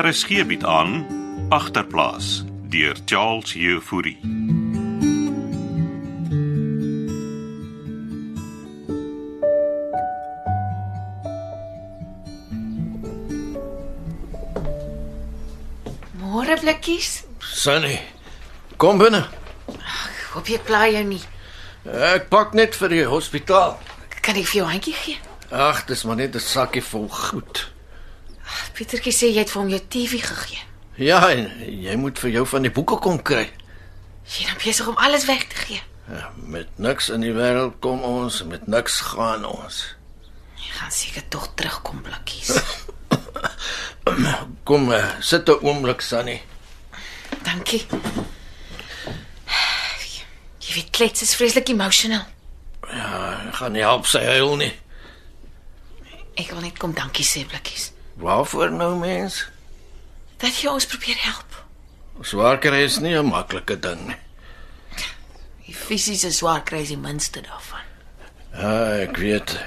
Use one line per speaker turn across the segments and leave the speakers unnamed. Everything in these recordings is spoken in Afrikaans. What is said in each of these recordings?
RSG bied aan agterplaas deur Charles Jefouri.
Môre blikkies.
Sunny, kom binne.
Hoop jy pla jou nie.
Ek pak net vir die hospitaal.
Kan ek vir jou 'n handjie gee?
Ag, dis maar net 'n sakkie vol goed.
Pietertjie sê jy het vir hom jou TV gegee.
Ja, en jy moet vir jou van die boeke kom kry.
Jy is besig om alles weg te gee.
Ja, Met niks in die wêreld kom ons, met niks gaan ons.
Jy gaan seker tog terugkom blikkies.
Kom, eh, sit 'n oomblik, Sunny.
Dankie. Jy weet klets is vreeslik emotional.
Ja, gaan nie help sy huil nie.
Ek wil net kom dankie sê blikkies
Waarvoor nou, mens?
dat jy ons probeer help.
Swaar kry is nie 'n maklike ding nie.
Die fisiese swaar kry is die minste daarvan.
Ja, ek weet.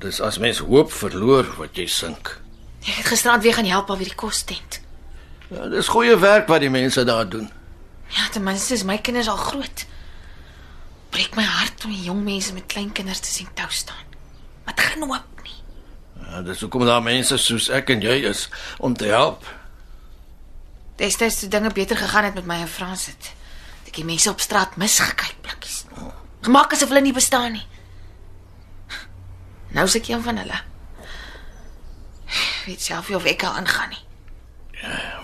Dis as mens hoop verloor wat jy sink.
Ek het gisteraand weer gaan help aan hierdie kos tent.
Ja, dis goeie werk wat die mense daar doen.
Ja, ten minste is my kinders al groot. Breek my hart om die jong mense met klein kinders te sien tou staan. Maar dit gaan hoop nie.
Ja, dis hoekom daar mense soos ek en jy is om te help.
Destyds toe dinge beter gegaan het met my en Frans het. het Ek het mense op straat misgekyk blikkies. Gemaak asof hulle nie bestaan nie. Nou seker een van hulle. Ek Weet self nie of ek al aangaan nie.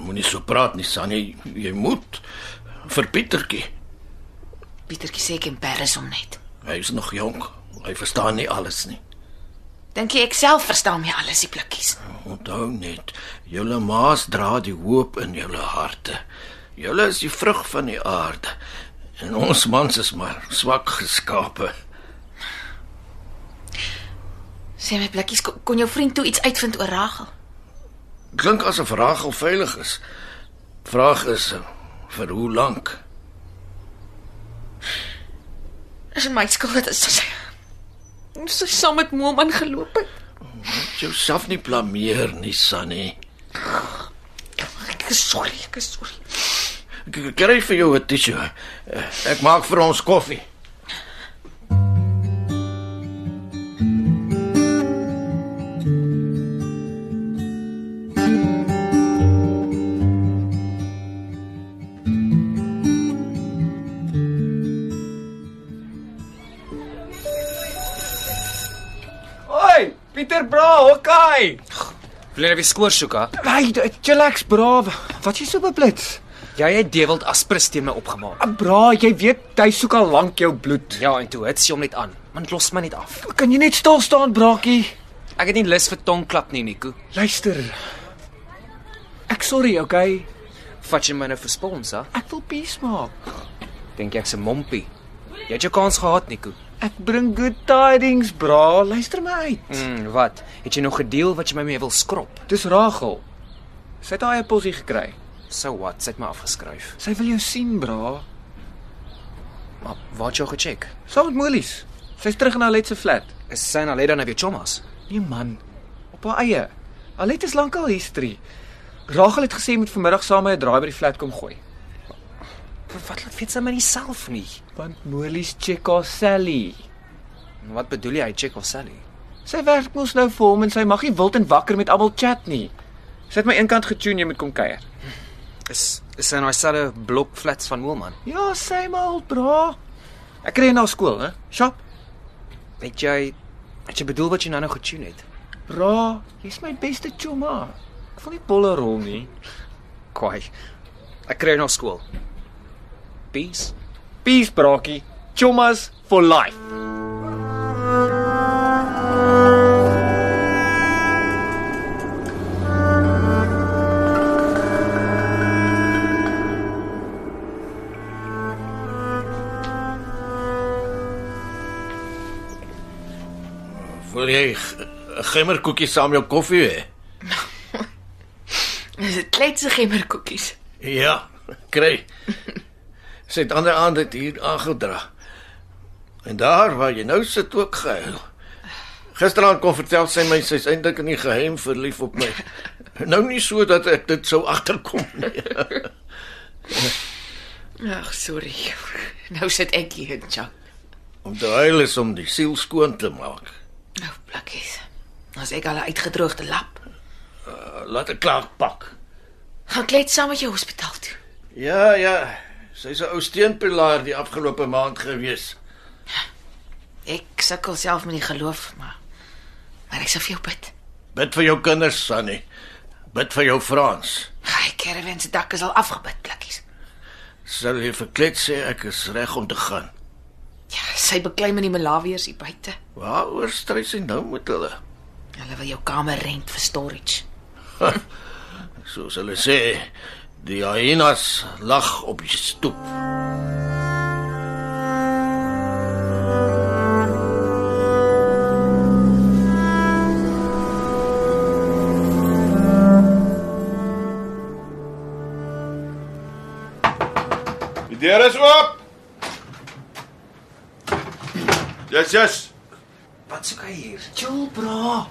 Moenie so praat nie, Sannie. Jy moet vir Pietertjie.
Pietertjie sê ek embarrass hom net.
Hy is nog jonk. Hy verstaan nie alles nie.
Dink jy ek self verstaan my alles die blikkies?
Onthou net, julle maas dra die hoop in julle harte. Julle is die vrug van die aarde. En ons mans is maar swak geskape.
Sê my blikkies kon, kon jou vriend toe iets uitvind oor Ragel?
Klink asof Ragel veilig is. Vraag is vir hoe lank?
Is my skuld dat sy Ons is saam met Mom aangeloop het.
Moet Jouself nie blameer nie, Sannie.
Ek is sorry, ek is sorry.
K- Kry vir jou 'n tissue. Ek maak vir ons koffie.
Oi, Pieter Bra, hokai.
Wil jy weer skoor soek, ha?
Hey, chillax Bra. Wat jy so beblits?
Jy het Dewald Asprus teen my opgemaak.
Ah, Bra, jy weet hy soek al lank jou bloed.
Ja, en toe hits jy hom net aan. Man los my net af.
Kan jy net stil staan, Braakie?
Ek het nie lus vir tongklap nie, Nico.
Luister. Ek sorry, okay?
Vat jy my nou vir spons, ha?
Ek wil peace maak.
Dink jy ek's 'n mompie? Jy het jou kans gehad, Nico.
Ek bring good tidings, Bra. Luister my uit.
Mm, wat? Het jy nog gedeel wat jy my mee wil skrop?
Hm. Dis Rachel. Sy het daai appelsie gekry.
So wat? Sy het my afgeskryf.
Sy wil jou sien, Bra.
Maar waar het jy haar gecheck?
Saam met Molies. Sy's terug in haar letse flat.
Is sy nou later nou weer chommas?
Nee man, op haar eie. Alet is lankal history. Rachel het gesê moet vanmiddag saam met 'n draai by die flat kom gooi.
Wat laat weet sy my nie self nie?
Want Molies check haar Sally.
En Wat bedoel jy hy check of Sally?
Sy werk mos nou vir hom en sy mag nie wild en wakker met almal chat nie. Sy het my eenkant getune jy moet kom kuier.
Is is sy in daai selfe blok flats van Moelman?
Ja, sy mal bra. Ek kry na skool, hè? Shop.
Het jy het jy bedoel wat jy nou nou getune het?
Bra, jy's my beste chuma. Ek wil nie bolle rol nie.
Kwaai. Ek kry nou skool. Peace.
Peace, braakie. Chumas for life.
Wil jy g- 'n gemmerkoekie saam jou koffie hê?
Dis 'n kletse gemmerkoekies.
Ja, kry. Sy het ander aand dit hier aangedra. En daar waar jy nou sit ook gehuil. Gisteraand kon vertel sy my sy's eintlik in die geheim verlief op my. Nou nie so dat ek dit sou agterkom nie.
Ag, sorry. Nou sit ek hier in jou.
Om te huil is om die siel skoon te maak.
Nou plakkies. As ek al 'n uitgedroogde lap.
Eh, Laat ek klaar pak.
Gaan klets saam met jou hospitaal toe.
Ja, ja. Sy's 'n ou steunpilaar die afgelope maand gewees.
Ek sukkel self met die geloof, maar maar ek sal vir jou bid.
Bid vir jou kinders, Sunny. Bid vir jou Frans.
Hy caravan se dak is al afgebid, plakkies.
Sal jy verklet sê ek is reg om te gaan.
Ja, sy beklei met die Malawiërs hier buite.
Waaroor stry sy nou met hulle?
Hulle wil jou kamer rent vir storage.
Soos hulle sê, die hyenas lag op die stoep.
Die deur is oop. Yes, yes.
Wat soek hy hier?
Chill, bra.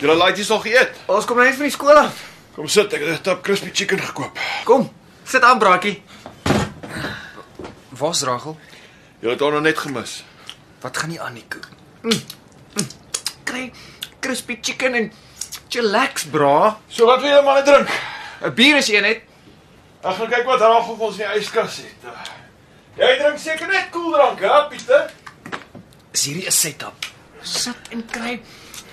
Julle laaitjies al geëet.
Ons kom nou net van die skool af.
Kom sit, ek het 'n tap crispy chicken gekoop.
Kom. Sit aan, braakie.
Waar's Rachel?
Julle het haar nog net gemis.
Wat gaan nie aan Mm, nie, Koen?
Kry crispy chicken en chillax, bra.
So wat wil julle manne drink?
'n Bier is een net.
Ek gaan kyk wat Ragel vir ons in die yskas het. Jy drink seker net koeldrank, hè, Pieter?
Is hierdie 'n setup?
Sit en kry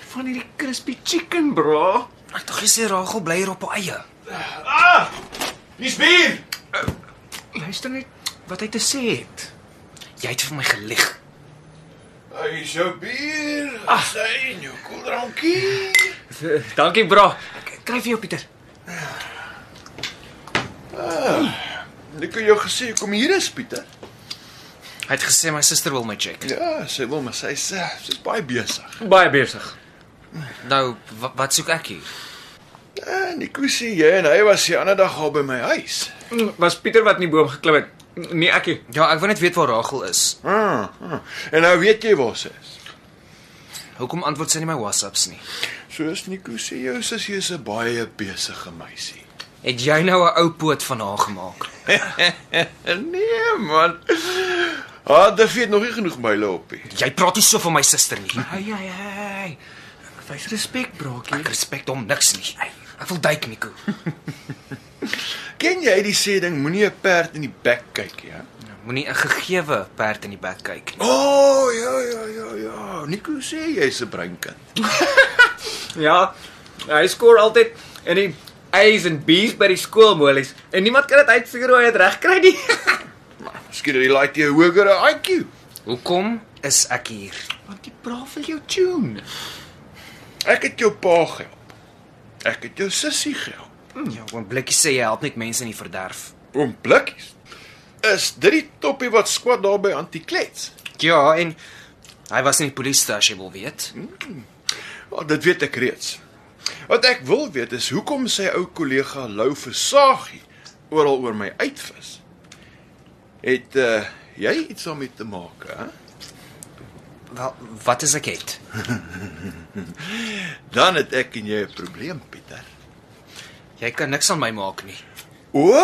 van hierdie crispy chicken, bra.
Ek dink gesê Rachel bly hier op haar eie.
Ah! Dis bier.
Luister net wat hy te sê het.
Jy het vir my gelieg.
Hy is jou bier. Ag, sy en jou koeldrankie.
Eh, Dankie, bra. Kry vir jou, Pieter.
Ek het jou gesê kom hier is Pieter.
Hy het gesê my suster wil my check.
Ja, sy wil maar sy sê sy's baie besig.
Baie besig.
Nou, wat, wat soek ek hier?
En Nico sê jy en hy was die ander dag al by my huis.
Mm, Was Pieter wat in die boom geklim het? Nee, ekkie.
Ja, ek wil net weet waar Rachel is.
Ah, ah. En nou weet jy waar sy is.
Hoekom antwoord sy nie my WhatsApps nie?
Soos Nico sê, jou sussie is 'n baie besige meisie.
Het jy nou 'n ou poot van haar gemaak?
Nee man. Ah, daar weet nog nie genoeg myle op nie.
Jy praat nie so van my suster nie.
Hey, hey, hey. Wys respek, braakie.
Ek respek hom niks nie. Ek wil duik, Nico.
Ken jy die sê ding moenie 'n perd in die bek kyk nie, hè?
Moenie 'n gegewe perd in die bek kyk nie.
O, oh, ja ja ja ja. Nico sê jy's 'n breinkind.
Ja. Hy skoor altyd in die A's en B's by die skoolmolies en niemand kan dit uitfigure hoe hy dit reg kry nie.
Miskien het hy laai jy 'n hogere IQ.
Hoekom is ek hier?
Want die bra vir jou tune.
Ek het jou pa gehelp. Ek het jou sussie gehelp.
Ja, oom Blikkie sê jy help net mense in die verderf.
Oom Blikkies. Is dit die toppie wat skwat daar by Antiklets?
Ja, en hy was in die polisiestasie, wil weet.
Wel, Ja, dit weet ek reeds. Wat ek wil weet is hoekom sy ou kollega Lou Versaagie oral oor my uitvis. Het uh jy iets daarmee te maak, hè?
Wel, wat is ek het?
Dan het ek en jy 'n probleem, Pieter.
Jy kan niks aan my maak nie.
O,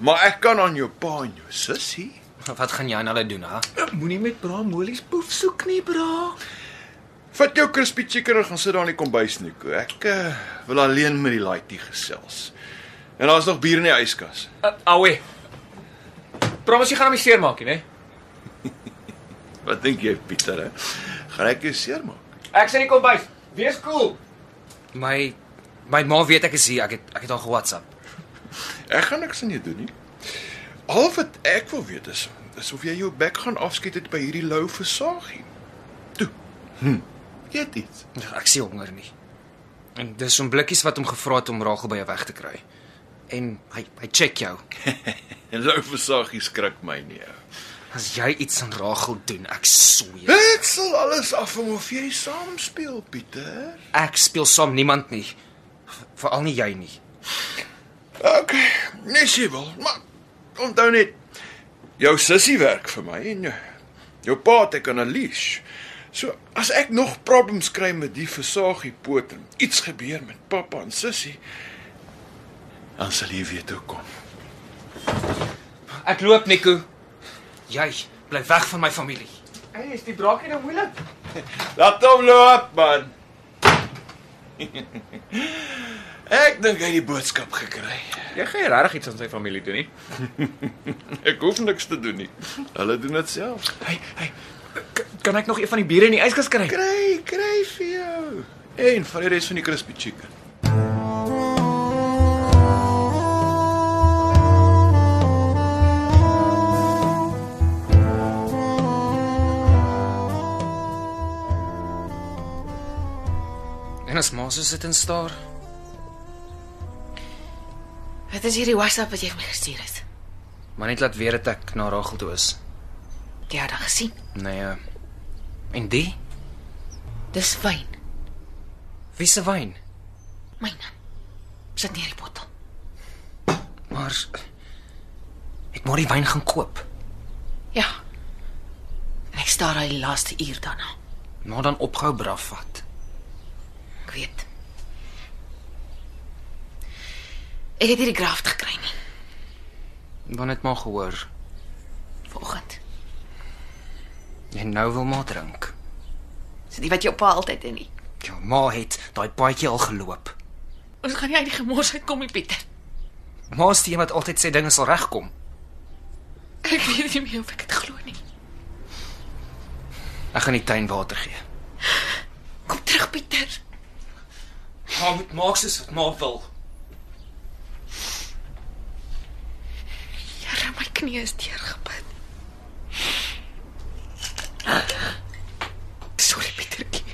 maar ek kan aan jou pa en jou sussie.
Wat gaan jy aan hulle doen, hè?
Moenie met bra molies poef soek nie, bra.
Vat jou crispy chicken en gaan sit daar in die kombuis, Nico. Ek uh, wil alleen met die laaitie gesels. En daar's nog bier in die yskas.
Uh, Awe. Promise jy gaan hom nie seermaak nie, né?
Wat dink jy, Pieter? Hè? Gaan ek jou seermaak?
Ek sê nie kom by. Wees cool.
My my ma weet ek is hier. Ek het ek het haar ge-WhatsApp.
Ek gaan niks aan jou doen nie. Al wat ek wil weet is, is of jy jou bek gaan afskiet het by hierdie lou versaagie. Toe. Hm. Eet iets.
Ja, Ek sien honger nie. En dis om blikkies wat hom gevra het om Rachel by jou weg te kry. En hy hy check jou.
En lou versaagie skrik my nee. nie. ou.
As jy iets aan Rachel doen, ek sweer.
Dit sal alles afhang of jy saam speel, Pieter.
Ek speel saam niemand nie. Veral nie jy nie.
OK, nee sy wil, maar onthou net jou sussie werk vir my en jou- jou pa het ek aan 'n leash. So, as ek nog problems kry met die versaagie poten, iets gebeur met pappa en sussie, dan sal jy weet hoe kom.
Ek loop, Nico. Jy bly weg van my familie.
Hey, is die braakie nou moeilik?
Laat hom loop, man. ek dink hy het die boodskap gekry.
Jy gaan regtig iets aan sy familie doen nie.
Ek hoef niks te doen nie. Hulle doen dit self.
Hey, hey. k- Kan ek nog een van die biere in die yskas kry?
Kry, kry vir jou. En vir die res van die crispy chicken.
En as ma so sit en staar,
Wat is hierdie WhatsApp wat jy vir my gestuur het?
maar net laat weet dat ek na Rachel toe is.
Jy het dit gesien.
Nee. eh, En die?
Dis wyn,
Wie se wyn?
myne. Sit neer die bottel.
Maar ek moet die wyn gaan koop.
Ja. En ek staar al die laaste uur daarna.
Maar dan ophou braaf vat.
Ek weet. Ek het hierdie graft gekry nie
Want dit maar gehoor.
vanoggend.
En nou wil maar drink.
Dis die wat jou pa altyd in nie.
Jou ma het daai paadjie al geloop.
Ons gaan nie uit die gemors uitkom nie, Pieter.
Ma is die een wat altyd sê dinge sal regkom.
Ek weet nie meer of ek dit glo nie.
Ek gaan die tuin water gee.
Kom terug, Pieter.
Ma moet maak soos wat ma wil.
Here, my knie is deurgebid. Sorry, Pietertjie.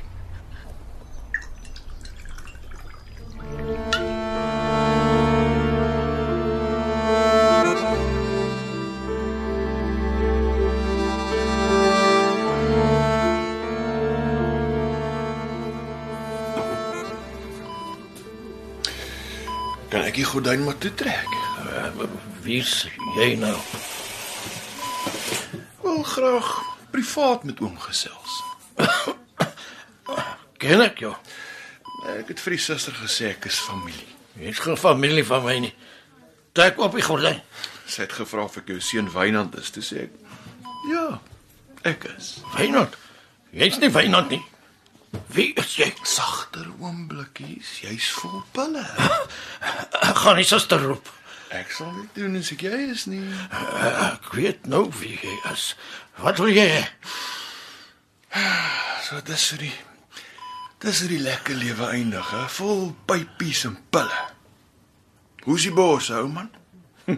Kan ek die gordyn maar toetrek?
Wie's Eh, jy nou?
Wil graag privaat met oom gesels.
Ken ek jou?
Ek het vir die suster gesê ek is familie.
Jy's geen familie van my nie. Trek op die gordyn.
Sy het gevra of ek jou seun Wynand is, toe sê ek ja, ek is.
Wynand. Jy's nie Wynand nie. Wie is jy?
Sagter oomblikkies, jy's vol pille.
Ek gaan nie suster roep.
Ek sal dit doen as ek jy is nie.
Ek weet nou wie jy is. Wat wil jy? hê?
So dis hoe die dis hoe die lekker lewe eindig, hè, vol pypies en pille. Hoe's die bors, ou man? jy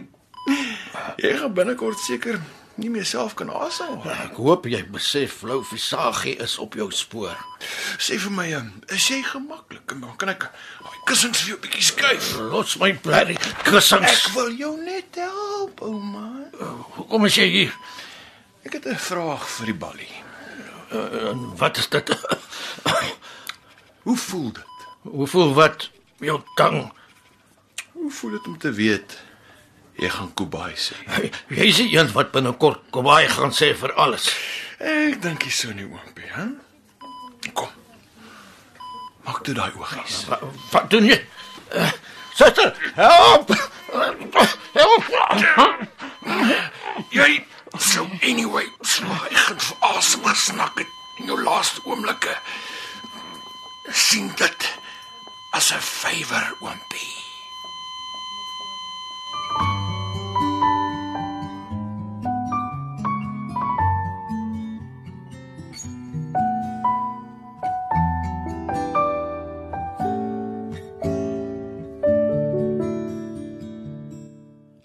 gaan Nou, binnekort seker nie meer self kan asemhaal.
Ek hoop jy besef Lou Visagie is op jou spoor.
Sê vir my, ehm, is jy gemaklik? Kan- Kan ek daai kussings vir jou 'n bietjie skuif?
Los my blerrie kussings.
Ek wil jou net help, ouma.
Hoekom is jy hier?
Ek het 'n vraag vir die ballie.
En wat is dit?
Hoe voel dit?
Hoeveel wat jou tang?
Hoe voel dit om te weet jy gaan Kobai sê?
Jy is die een wat binnekort kom baie gaan sê vir alles.
Ek dink jy sou nie oompie, hè? Kom. Maak toe daai oogies.
Wa- Wat doen jy? Eh, Suster, help! Help!
Jy sou anyway swaai en vir asem gesnak het in jou laaste oomblikke. sien dit as 'n favour, oompie.